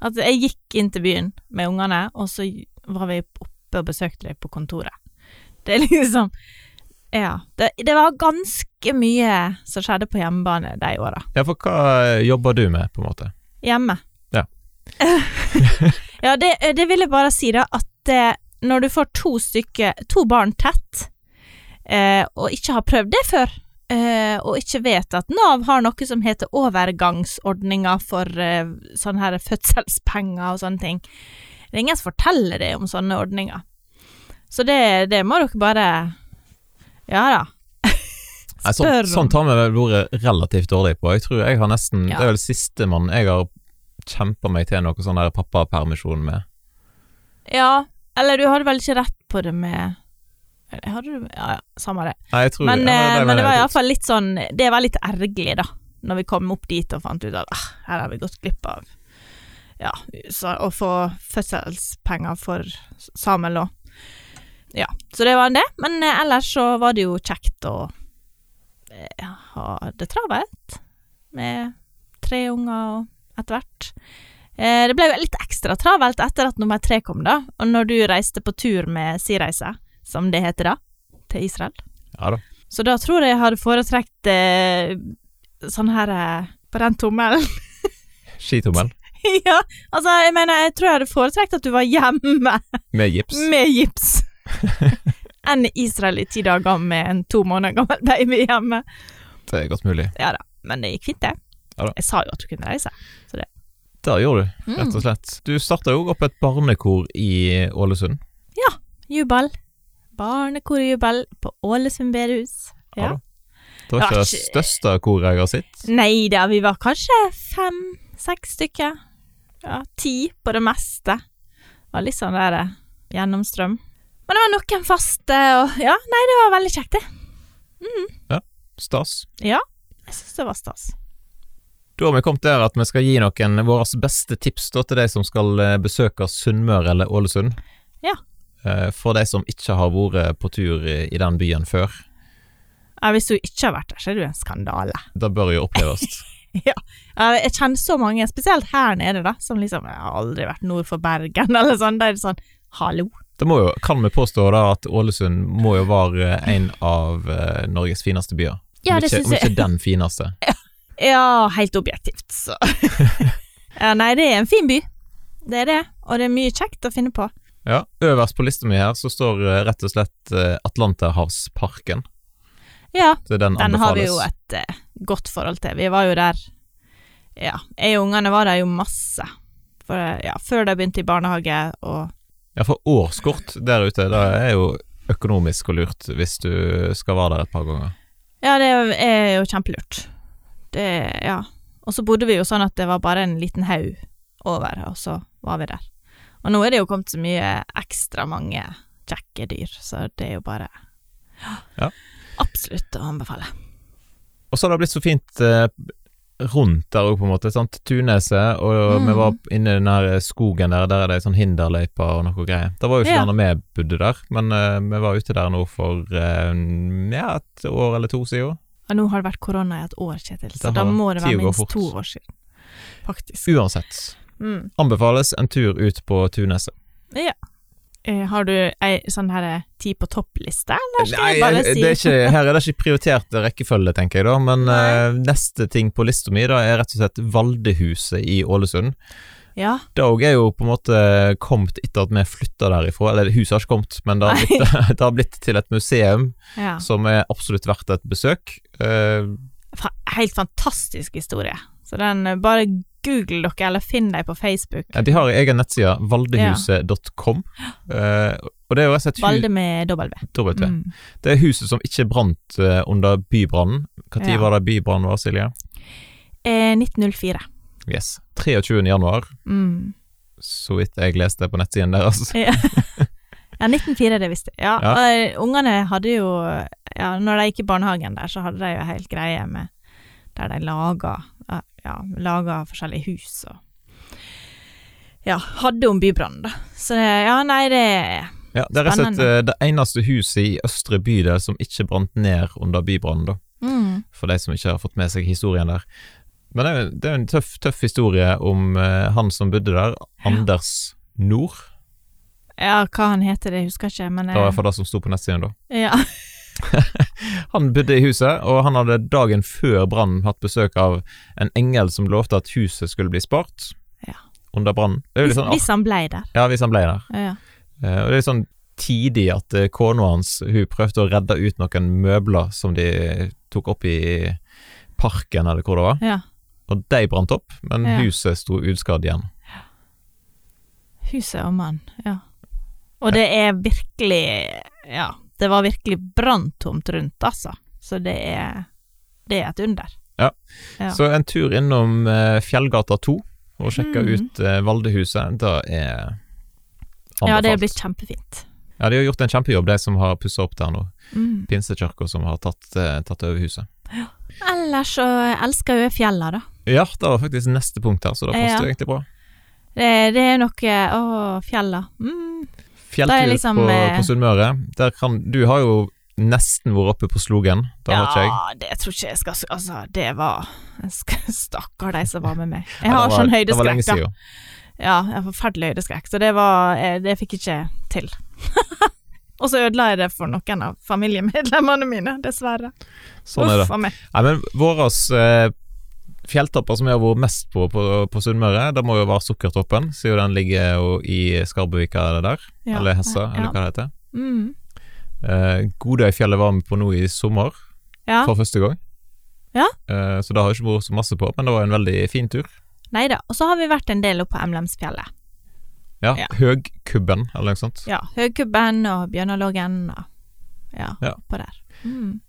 Speaker 2: At jeg gikk inn til byen med ungene, og så var vi oppe og besøkte deg på kontoret. Det er liksom Ja. Det, det var ganske mye som skjedde på hjemmebane de åra.
Speaker 1: Ja, for hva jobber du med, på en måte?
Speaker 2: Hjemme.
Speaker 1: Ja.
Speaker 2: ja, det, det vil jeg bare si, da, at eh, når du får to stykker, to barn tett, eh, og ikke har prøvd det før, eh, og ikke vet at Nav har noe som heter overgangsordninger for eh, sånne her fødselspenger og sånne ting Det er ingen som forteller det om sånne ordninger. Så det, det må dere bare Ja da.
Speaker 1: Nei,
Speaker 2: Spør
Speaker 1: sånn,
Speaker 2: om-
Speaker 1: sånn tar vi vel ordet relativt dårlig på. Jeg tror jeg har nesten
Speaker 2: Ja.
Speaker 1: Det er vel sistemann jeg har kjempa meg til noe sånn der pappapermisjon med.
Speaker 2: Ja, eller du hadde vel ikke rett på det med Hadde du Ja, ja, samme det.
Speaker 1: Nei, jeg tror
Speaker 2: Men,
Speaker 1: ja,
Speaker 2: eh,
Speaker 1: det,
Speaker 2: men det var
Speaker 1: iallfall
Speaker 2: iallfall litt sånn Det var litt ergerlig, da, når vi kom opp dit og fant ut at ah, her har vi gått glipp av Ja, så, å få fødselspenger for Samuel òg. Ja, så det var det. Men eh, ellers så var det jo kjekt å eh, ha det travelt med tre unger og etter hvert. Eh, det ble jo litt ekstra travelt etter at nummer tre kom, da, og når du reiste på tur med Sireise, som det heter da, til Israel.
Speaker 1: Ja da.
Speaker 2: Så da tror jeg jeg hadde foretrekt eh, sånn her eh, på den tommelen.
Speaker 1: Skitommel.
Speaker 2: ja, altså, jeg mener, jeg tror jeg hadde foretrekt at du var hjemme
Speaker 1: Med gips.
Speaker 2: med gips enn i Israel i ti dager med en to måneder gammel baby hjemme.
Speaker 1: Det er godt mulig.
Speaker 2: Ja da, men det gikk fint, det.
Speaker 1: Ja da.
Speaker 2: Jeg sa jo at du kunne reise.
Speaker 1: Der gjorde du,
Speaker 2: Mm.
Speaker 1: rett og slett. Du starta jo opp et barnekor i Ålesund.
Speaker 2: Jubel. Barnekorjubel på Ålesund bedehus.
Speaker 1: Ja
Speaker 2: Ja.
Speaker 1: da. Det var ikke det
Speaker 2: Asj.
Speaker 1: største koret jeg har sett.
Speaker 2: Nei da, vi var kanskje fem-seks stykker. Ja, ti på det meste. Det var litt sånn der eh, gjennomstrøm. Men det var noen faste, eh, og ja, nei, det var veldig kjekt, det.
Speaker 1: Stas.
Speaker 2: Jeg syns det var stas.
Speaker 1: Da har vi kommet der at vi skal gi noen våre beste tips da, til de som skal eh, besøke Sunnmøre eller Ålesund.
Speaker 2: Ja.
Speaker 1: Eh, For de som ikke har vært på tur i i den byen før.
Speaker 2: Ja, hvis du ikke har vært der, så er det jo en skandale.
Speaker 1: Det bør jo oppleves.
Speaker 2: Ja, Jeg kjenner så mange, spesielt her nede, da, som liksom Jeg har aldri vært nord for Bergen, eller sånn. Da er det sånn Hallo.
Speaker 1: Det må jo, kan vi påstå da at Ålesund må jo være en av eh, Norges fineste byer.
Speaker 2: Ja,
Speaker 1: Om
Speaker 2: det
Speaker 1: ikke-
Speaker 2: synes jeg.
Speaker 1: Om ikke den fineste.
Speaker 2: Ja, helt objektivt, så. ja, nei, det er en fin by. Det er det. Og det er mye kjekt å finne på.
Speaker 1: Ja, Øverst på lista mi her så står eh, rett og slett eh, Atlanterhavsparken.
Speaker 2: Ja,
Speaker 1: Så den,
Speaker 2: den har vi
Speaker 1: anbefales.
Speaker 2: jo et eh, godt forhold til. Vi var jo der Ja, jeg og ungene var der jo masse. For, eh, ja, før de begynte i barnehage og
Speaker 1: Ja, for årskort der ute, det er jo økonomisk og lurt hvis du skal være der et par ganger.
Speaker 2: Ja, det er jo kjempelurt. Det Ja. Og så bodde vi jo sånn at det var bare en liten haug over, og så var vi der. Og nå er det jo kommet så mye ekstra mange kjekke dyr, så det er jo bare
Speaker 1: Ja.
Speaker 2: Absolutt å anbefale.
Speaker 1: Og så har det blitt så fint eh, rundt der òg, på en måte. sant? Tuneset, og
Speaker 2: Mm.
Speaker 1: vi var inne i den her skogen der, der er det ei sånn hinderløype og noe greier. Det var jo ikke
Speaker 2: Ja.
Speaker 1: der når vi bodde der, men eh, vi var ute der nå for eh, ja, et år eller to siden.
Speaker 2: Og nå har det vært korona i et år, Kjetil, så
Speaker 1: Det
Speaker 2: da
Speaker 1: har
Speaker 2: må det
Speaker 1: tida
Speaker 2: være
Speaker 1: går
Speaker 2: minst
Speaker 1: fort.
Speaker 2: to år siden. Faktisk.
Speaker 1: Uansett,
Speaker 2: Mm.
Speaker 1: anbefales en tur ut på Tuneset.
Speaker 2: Eh, Har du ei sånn her ti på topp-liste, eller skal
Speaker 1: Nei,
Speaker 2: jeg bare si
Speaker 1: det er ikke, her er det ikke prioritert rekkefølge, tenker jeg da, men
Speaker 2: Nei.
Speaker 1: eh, neste ting på lista mi da er rett og slett Valdehuset i Ålesund.
Speaker 2: Ja.
Speaker 1: Det òg er jo på en måte kommet etter at vi flytta derifra. Eller huset har ikke kommet, men det har blitt, det har blitt til et museum
Speaker 2: ja.
Speaker 1: som er absolutt verdt et besøk. Eh,
Speaker 2: fa helt fantastisk historie. Så den eh, bare google dere, eller finn deg på Facebook.
Speaker 1: de har en egen nettside, valdehuset.com. Eh, og det er jo rett og slett hu-
Speaker 2: Valde med W.
Speaker 1: dobbelt V.
Speaker 2: Mm.
Speaker 1: Det er huset som ikke brant eh, under bybrannen. Når
Speaker 2: Ja.
Speaker 1: var det bybrannen var, Silje?
Speaker 2: Eh, 1904.
Speaker 1: Yes. 23. januar,
Speaker 2: Mm.
Speaker 1: så vidt jeg leste på nettsiden deres.
Speaker 2: Ja, 1904 det visste jeg. Ja,
Speaker 1: Ja.
Speaker 2: og, eh, Ungene hadde jo ja, Når de gikk i barnehagen der, så hadde de jo helt greie med Der de laga, ja, ja, laga forskjellige hus og Ja, hadde om bybrannen, da. Så det, ja, nei, det
Speaker 1: Ja, det er rett og slett
Speaker 2: Spennende.
Speaker 1: eh, det eneste huset i Østre bydel som ikke brant ned under bybrannen, da.
Speaker 2: mm.
Speaker 1: for de som ikke har fått med seg historien der. Men det er, jo- det er jo en tøff, tøff historie om eh, han som bodde der, Anders Nord.
Speaker 2: Ja, hva han heter, det husker jeg ikke, men
Speaker 1: Det var i
Speaker 2: eh,
Speaker 1: hvert fall det som sto på nettsiden da.
Speaker 2: ja.
Speaker 1: Han bodde i huset, og han hadde dagen før brannen hatt besøk av en engel som lovte at huset skulle bli spart
Speaker 2: Ja.
Speaker 1: under brannen. Det er jo
Speaker 2: hvis,
Speaker 1: litt sånn,
Speaker 2: hvis han blei der.
Speaker 1: ja, hvis han ble der.
Speaker 2: Ja.
Speaker 1: Eh, Og det er litt sånn tidig at eh, kona hans hun prøvde å redde ut noen møbler som de tok opp i parken, eller hvor det var.
Speaker 2: Ja.
Speaker 1: Og de brant opp, men
Speaker 2: Ja.
Speaker 1: huset sto utskadd igjen.
Speaker 2: Huset og mannen, ja. Og det er virkelig Ja, det var virkelig branntomt rundt, altså. Så det er Det er et under. Ja.
Speaker 1: Så en tur innom eh, Fjellgata 2 og sjekke
Speaker 2: Mhm.
Speaker 1: ut eh, Valdehuset, det er anbefalt.
Speaker 2: Ja, det er blitt kjempefint.
Speaker 1: Ja, de har gjort en kjempejobb, de som har pussa opp der nå.
Speaker 2: Mm.
Speaker 1: Pinsekirka som har tatt, eh, tatt over huset.
Speaker 2: Ellers så elsker jeg fjella, da.
Speaker 1: Ja, det var faktisk neste punkt her, så det passet
Speaker 2: Ja.
Speaker 1: jo egentlig bra.
Speaker 2: Det, det er noe Å, fjella. Mm. Da er
Speaker 1: Fjelltur
Speaker 2: liksom,
Speaker 1: på,
Speaker 2: eh,
Speaker 1: på Sunnmøre. Der kan Du har jo nesten vært oppe på Slogen, det har ikke jeg.
Speaker 2: Ja, det tror ikke jeg skal Altså, det var jeg skal- Stakkar de som var med meg. Jeg
Speaker 1: Ja,
Speaker 2: har
Speaker 1: det var-
Speaker 2: sånn
Speaker 1: Det var lenge
Speaker 2: høydeskrekk, da.
Speaker 1: siden.
Speaker 2: Ja, jeg har forferdelig høydeskrekk, så det var eh, Det fikk jeg ikke til. og så ødela jeg det for noen av familiemedlemmene mine, dessverre.
Speaker 1: Sånn er det.
Speaker 2: Uff a meg.
Speaker 1: Nei, men våres eh, Fjelltopper som jeg har vært mest på på, på Sunnmøre, det må jo være Sukkertoppen, siden den ligger jo i Skarbuvika eller der,
Speaker 2: Ja.
Speaker 1: eller Hessa, eller
Speaker 2: Ja.
Speaker 1: hva det heter.
Speaker 2: Mm.
Speaker 1: Eh, Godøyfjellet var vi på nå i sommer,
Speaker 2: Ja.
Speaker 1: for første gang.
Speaker 2: Ah. Ja.
Speaker 1: Eh, så det har jeg ikke vært så masse på, men det var en veldig fin tur.
Speaker 2: Nei da. Og så har vi vært en del oppe på Emlemsfjellet.
Speaker 1: Ja,
Speaker 2: Ja.
Speaker 1: Høgkubben, eller noe sånt.
Speaker 2: Ja. Høgkubben og Bjørnaloggen og ja,
Speaker 1: Ja.
Speaker 2: oppå der. Mm.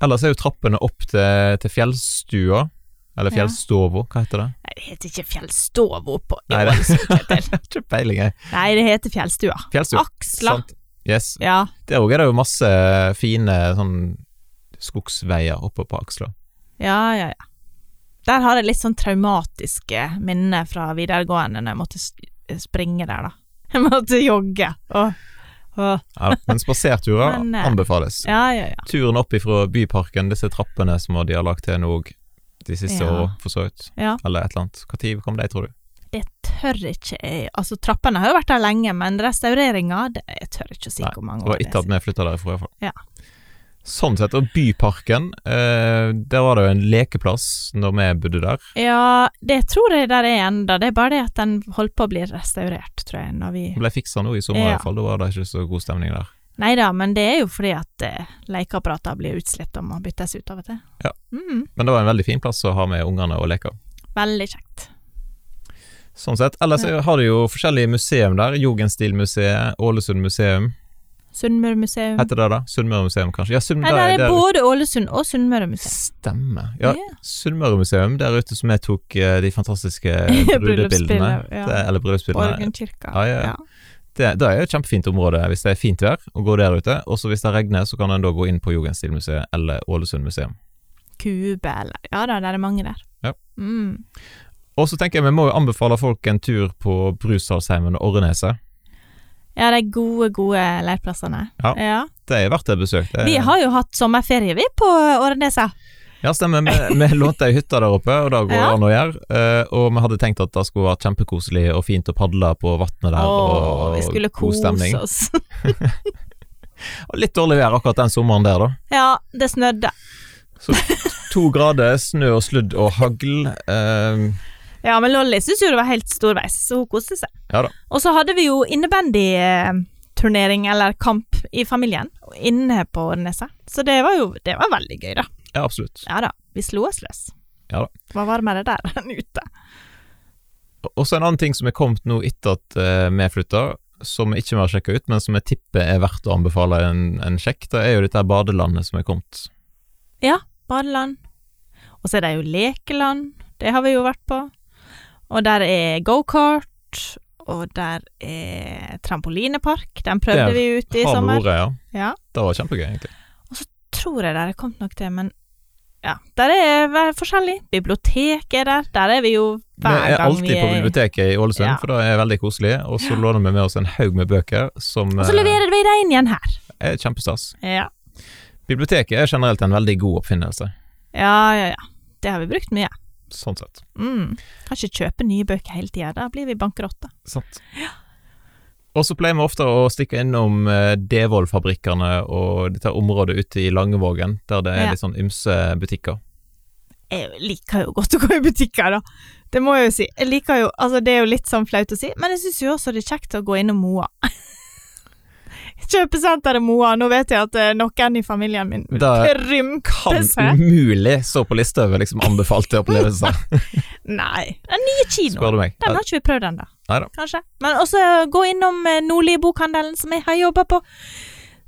Speaker 1: Ellers er jo trappene opp til, til fjellstua, eller
Speaker 2: Ja.
Speaker 1: fjellstova, hva heter det?
Speaker 2: Nei, det heter ikke Fjellstov oppå i
Speaker 1: Nei, det-
Speaker 2: Ålesund, Kjetil.
Speaker 1: Ikke peiling, jeg.
Speaker 2: Nei, det heter Fjellstua.
Speaker 1: Fjellstua.
Speaker 2: Aksla.
Speaker 1: Sant. Yes.
Speaker 2: Ja.
Speaker 1: Der òg er det jo masse fine sånn skogsveier oppe på Aksla.
Speaker 2: Ja, ja, ja. Der har jeg litt sånn traumatiske minner fra videregående når jeg måtte s- eh, springe der, da. Jeg måtte jogge. Og, og,
Speaker 1: Ja, da. men spaserturer
Speaker 2: Men, eh,
Speaker 1: anbefales.
Speaker 2: ja, ja, ja.
Speaker 1: Turen opp ifra Byparken, disse trappene som de har lagt til nå òg de siste
Speaker 2: Ja.
Speaker 1: åra, for så vidt.
Speaker 2: Ja.
Speaker 1: Eller et eller annet. Når kom de, tror du?
Speaker 2: Det tør ikke jeg Altså, trappene har jo vært der lenge, men restaureringa det, Jeg tør ikke å si
Speaker 1: Nei,
Speaker 2: hvor mange
Speaker 1: Det
Speaker 2: år
Speaker 1: var etter at vi flytta derifra, iallfall.
Speaker 2: Ja.
Speaker 1: Sånn sett. Og Byparken, eh, der var det jo en lekeplass når vi bodde der.
Speaker 2: Ja, det tror jeg der er enda. Det er bare det at den holdt på å bli restaurert, tror jeg, når vi
Speaker 1: Den ble fiksa nå i sommer,
Speaker 2: Ja.
Speaker 1: iallfall. Da var det ikke så god stemning der.
Speaker 2: Nei da, men det er jo fordi at eh, lekeapparatene blir utslitt og må byttes ut av og til.
Speaker 1: Ja.
Speaker 2: Mm,
Speaker 1: Men det var en veldig fin plass å ha med ungene og leke.
Speaker 2: veldig kjekt.
Speaker 1: Sånn sett. Ellers har de jo forskjellige museum der. Jugendstilmuseet, Ålesund museum.
Speaker 2: Sunnmøre museum.
Speaker 1: Heter det da? Sunnmøre museum, kanskje? Ja, Sunn-
Speaker 2: Nei,
Speaker 1: der-
Speaker 2: der er
Speaker 1: der-
Speaker 2: både Ålesund og Sunnmøre museum.
Speaker 1: Stemmer. Ja, Sunnmøre museum der ute som jeg tok eh, de fantastiske brudebildene.
Speaker 2: Bryllupsbilder, ja.
Speaker 1: Det- Eller bryllupsbildene.
Speaker 2: Borgenkirka.
Speaker 1: Ja, ja, ja. Det, det er jo et kjempefint område hvis det er fint vær, å gå der ute. Og så hvis det regner, så kan en da gå inn på Jugendstilmuseet eller Ålesund museum.
Speaker 2: Kube, eller Ja da, der er mange der.
Speaker 1: Ja.
Speaker 2: Mm.
Speaker 1: Og så tenker jeg vi må jo anbefale folk en tur på Brusalsheimen og Orreneset.
Speaker 2: Ja, de gode, gode leirplassene.
Speaker 1: Ja. Eh. Det er verdt et besøk. Det er,
Speaker 2: Vi har jo hatt sommerferie, vi, på Årenesa.
Speaker 1: Ja, stemmer. Vi, vi lånte ei hytte der oppe, og det går
Speaker 2: Ja.
Speaker 1: an å gjøre. Eh, og vi hadde tenkt at det skulle være kjempekoselig og fint å padle på vannet der.
Speaker 2: Åh,
Speaker 1: og,
Speaker 2: vi skulle kose oss.
Speaker 1: Og litt dårlig vær akkurat den sommeren der, da.
Speaker 2: Ja, det snødde.
Speaker 1: To grader, snø og sludd og hagl. Eh,
Speaker 2: Ja, men Lolly syntes jo det var helt storveis, så hun koste seg.
Speaker 1: Ja da.
Speaker 2: Og så hadde vi jo innebandyturnering, eller kamp, i familien inne på Årenesa. Så det var jo det var veldig gøy, da.
Speaker 1: ja, absolutt.
Speaker 2: Ja da, vi slo oss løs.
Speaker 1: Ja da.
Speaker 2: Var varmere der enn ute.
Speaker 1: Og så en annen ting som er kommet nå etter at eh, vi flytta, som ikke vi har sjekka ut, men som jeg tipper er verdt å anbefale en, en sjekk, det er jo dette her badelandet som er kommet.
Speaker 2: Badeland. Og så er det jo lekeland, det har vi jo vært på. Og der er gokart, og der er trampolinepark, den prøvde
Speaker 1: Der
Speaker 2: vi ut i
Speaker 1: Har vi
Speaker 2: sommer.
Speaker 1: ordet, ja.
Speaker 2: Ja,
Speaker 1: Det var kjempegøy, egentlig.
Speaker 2: tror jeg der er kommet nok til, men ja. Der er vær forskjellig. Biblioteket er der, der er vi jo
Speaker 1: Vi
Speaker 2: hver
Speaker 1: er
Speaker 2: gang vi
Speaker 1: alltid på
Speaker 2: er
Speaker 1: biblioteket i Ålesund,
Speaker 2: Ja.
Speaker 1: for det er veldig koselig. Og så låner vi med oss en haug med bøker, som
Speaker 2: Og så
Speaker 1: eh,
Speaker 2: leverer vi det inn igjen her.
Speaker 1: er kjempestas.
Speaker 2: Ja.
Speaker 1: Biblioteket er generelt en veldig god oppfinnelse,
Speaker 2: ja, ja, ja. Det har vi brukt mye.
Speaker 1: sånn sett.
Speaker 2: Mm. Kan ikke kjøpe nye bøker hele tida, da blir vi bankerotter.
Speaker 1: Sant. Og så pleier vi ofte å stikke innom eh, Devold-fabrikkene og dette området ute i Langevågen, der det er
Speaker 2: Ja.
Speaker 1: litt sånn ymse butikker.
Speaker 2: Jeg liker jo godt å gå i butikker, da. Det må jeg jo si. Jeg liker jo, altså Det er jo litt sånn flaut å si, men jeg syns jo også det er kjekt å gå innom Moa. Kjøpesenteret Moa. Nå vet jeg at eh, noen i familien min
Speaker 1: Det
Speaker 2: rymte
Speaker 1: kan
Speaker 2: seg.
Speaker 1: umulig stå på lista over liksom anbefalte opplevelser,
Speaker 2: Nei. Den nye kinoen.
Speaker 1: spør du meg.
Speaker 2: Den har ikke vi prøvd ennå.
Speaker 1: Neida.
Speaker 2: Kanskje. Men også gå innom eh, Nordli bokhandelen, som jeg har jobba på.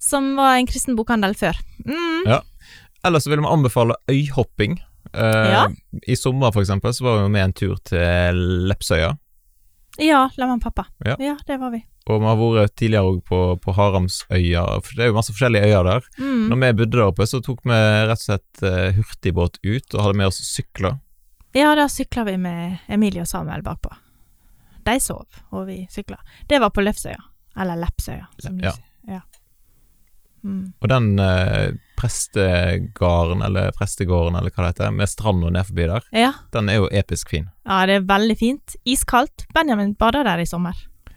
Speaker 2: Som var en kristen bokhandel før. Mm.
Speaker 1: Ellers så vil vi anbefale øyhopping. Eh,
Speaker 2: Ja.
Speaker 1: I sommer, for eksempel, så var vi med en tur til Lepsøya.
Speaker 2: Ja, la meg pappa.
Speaker 1: Ja.
Speaker 2: det var vi.
Speaker 1: Og vi har vært tidligere òg på, på Haramsøya. For det er jo masse forskjellige øyer der.
Speaker 2: Mm.
Speaker 1: Når vi bodde der oppe, så tok vi rett og slett eh, hurtigbåt ut og hadde med oss sykler.
Speaker 2: Ja, da sykla vi med Emilie og Samuel bakpå. De sov, og vi sykla. Det var på Løfsøya. Eller Lepsøya. som
Speaker 1: Lep-
Speaker 2: du
Speaker 1: ja.
Speaker 2: sier. ja. Mm.
Speaker 1: Og den eh, prestegarden, eller prestegården, eller hva det heter, med stranda ned forbi der,
Speaker 2: ja.
Speaker 1: den er jo episk fin.
Speaker 2: Ja, det er veldig fint. Iskaldt. Benjamin bada der i sommer.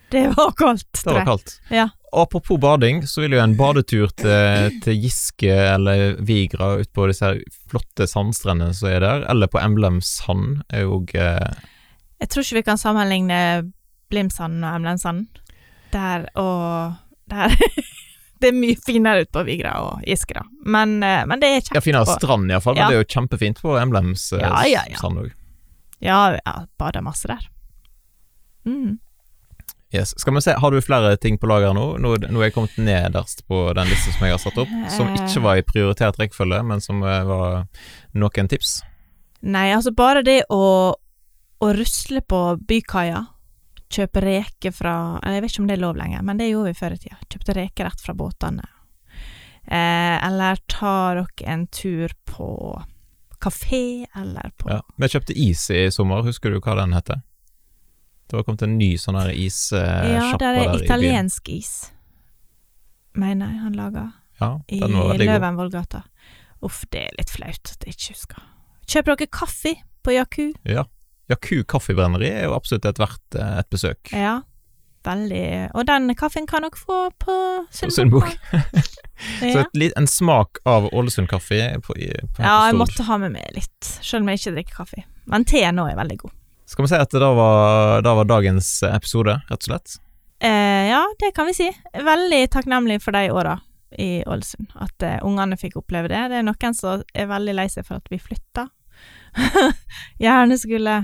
Speaker 2: Det var kaldt.
Speaker 1: Det var kaldt.
Speaker 2: Ja.
Speaker 1: Apropos bading, så vil jo en badetur til, til Giske eller Vigra utpå disse her flotte sandstrendene som er der, eller på Emblem Sand, er jo eh,
Speaker 2: Jeg tror ikke vi kan sammenligne Blimsanden og Emlensanden. Der og der Det er mye finere ute på Vigra og Giske, da. Men, eh, men det er
Speaker 1: Ja,
Speaker 2: kjekt.
Speaker 1: finere strand iallfall, men
Speaker 2: Ja.
Speaker 1: det er jo kjempefint på Emblems eh,
Speaker 2: Ja, ja, ja.
Speaker 1: sand òg.
Speaker 2: Ja, jeg bader masse der. Mm.
Speaker 1: Yes. Skal vi se, har du flere ting på lager nå? Nå, nå er jeg kommet nederst på den lista som jeg har satt opp, som
Speaker 2: Eh.
Speaker 1: ikke var i prioritert rekkefølge, men som eh, var noen tips.
Speaker 2: Nei, altså bare det å, å rusle på bykaia. Kjøpe reker fra eller Jeg vet ikke om det er lov lenger, men det gjorde vi før i tida. Kjøpte reker rett fra båtene. Eh, eller ta dere en tur på kafé, eller på
Speaker 1: Ja. Vi kjøpte is i sommer, husker du hva den heter? Det var kommet en ny sånn her
Speaker 2: Ja,
Speaker 1: issjappa
Speaker 2: der er
Speaker 1: i byen.
Speaker 2: italiensk is, mener jeg han laga
Speaker 1: Ja,
Speaker 2: i
Speaker 1: den var veldig god.
Speaker 2: Løvenvollgata. Uff, det er litt flaut at jeg ikke husker. Kjøp dere kaffe på Yaku.
Speaker 1: Ja. Yaku kaffebrenneri er jo absolutt et verdt eh, et besøk.
Speaker 2: Ja, veldig Og den kaffen kan dere få på
Speaker 1: Sundbukk.
Speaker 2: Sundbukk.
Speaker 1: Så
Speaker 2: ja.
Speaker 1: et, li- en smak av Ålesund kaffe på, i, på
Speaker 2: ja,
Speaker 1: stor.
Speaker 2: jeg måtte ha med meg litt, selv om jeg ikke drikker kaffe. Men teen nå er veldig god.
Speaker 1: Skal vi si at det da var, da var dagens episode, rett og slett?
Speaker 2: Eh, ja, det kan vi si. Veldig takknemlig for de åra i Ålesund, at eh, ungene fikk oppleve det. Det er noen som er veldig lei seg for at vi flytta. Gjerne skulle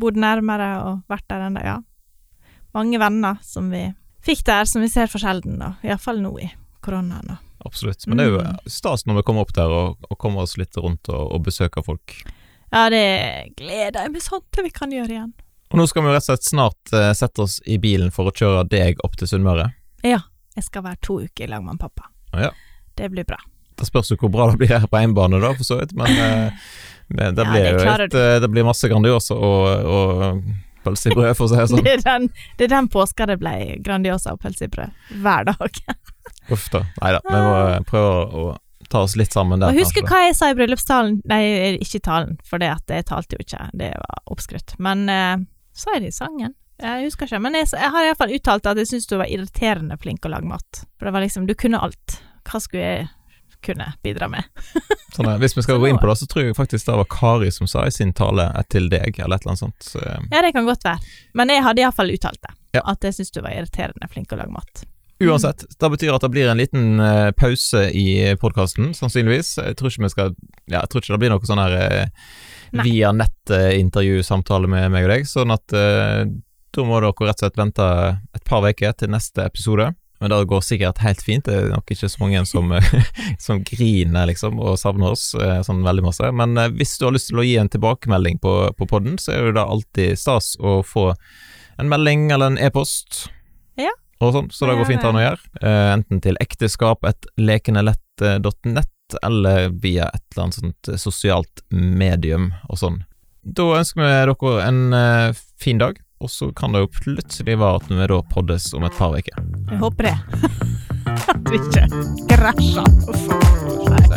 Speaker 2: bodd nærmere og vært der ennå, ja. Mange venner som vi fikk der, som vi ser for sjelden, da. Iallfall nå i koronaen. da.
Speaker 1: Absolutt. Men det er jo
Speaker 2: Mm.
Speaker 1: stas når vi kommer opp der og, og kommer oss litt rundt og, og besøker folk.
Speaker 2: Ja, det gleder jeg meg sånn til vi kan gjøre igjen.
Speaker 1: Og nå skal vi jo rett og slett snart eh, sette oss i bilen for å kjøre deg opp til Sunnmøre.
Speaker 2: Jeg skal være to uker i lag med pappa.
Speaker 1: Ja.
Speaker 2: Det blir bra.
Speaker 1: Det spørs jo hvor bra det blir her på hjemmebane, da, for så vidt. Men eh, det, det
Speaker 2: Ja,
Speaker 1: blir
Speaker 2: det
Speaker 1: jo
Speaker 2: klarer
Speaker 1: et, eh, det blir masse Grandiosa og, og pølse i brød, for å si det sånn.
Speaker 2: Det er den, det er den påska det ble Grandiosa og pølse i brød hver dag.
Speaker 1: Uff da. Nei da, vi må eh, prøve å ta oss litt sammen der.
Speaker 2: Og husker
Speaker 1: kanskje.
Speaker 2: hva jeg sa i bryllupstalen Nei, ikke i talen, for det at jeg talte jo ikke. Det var oppskrytt. Men eh, sa jeg det i sangen? Jeg husker ikke, men jeg, jeg har iallfall uttalt at jeg syntes du var irriterende flink å lage mat. For det var liksom, du kunne alt. Hva skulle jeg kunne bidra med?
Speaker 1: Sånn, eh, hvis vi skal
Speaker 2: Så
Speaker 1: gå
Speaker 2: nå-
Speaker 1: inn på det, så tror jeg faktisk det var Kari som sa i sin tale eh, til deg, eller et eller annet sånt. Så, eh,
Speaker 2: Ja, det kan godt være. Men jeg hadde iallfall uttalt det.
Speaker 1: Ja.
Speaker 2: At jeg syntes du var irriterende flink å lage mat.
Speaker 1: Uansett, det betyr at det blir en liten eh, pause i podkasten, sannsynligvis. Jeg tror ikke vi skal Ja, jeg tror ikke det blir noe sånn her eh,
Speaker 2: Nei.
Speaker 1: via nett-intervju-samtale med meg og deg, sånn at eh, da må dere rett og slett vente et par uker til neste episode. Men det går sikkert helt fint. Det er nok ikke så mange som, eh, som griner liksom og savner oss eh, sånn veldig masse. Men eh, hvis du har lyst til å gi en tilbakemelding på, på podden, så er det da alltid stas å få en melding eller en e-post.
Speaker 2: Ja.
Speaker 1: Og sånn, så det går fint an å gjøre. Eh, enten til ekteskap.lekenelett.nett eller via et eller annet sånt eh, sosialt medium og sånn. Da ønsker vi dere en eh, fin dag, og så kan det jo plutselig være at vi da poddes om et par uker.
Speaker 2: Jeg håper det. At vi ikke krasjer. Uff. Nei.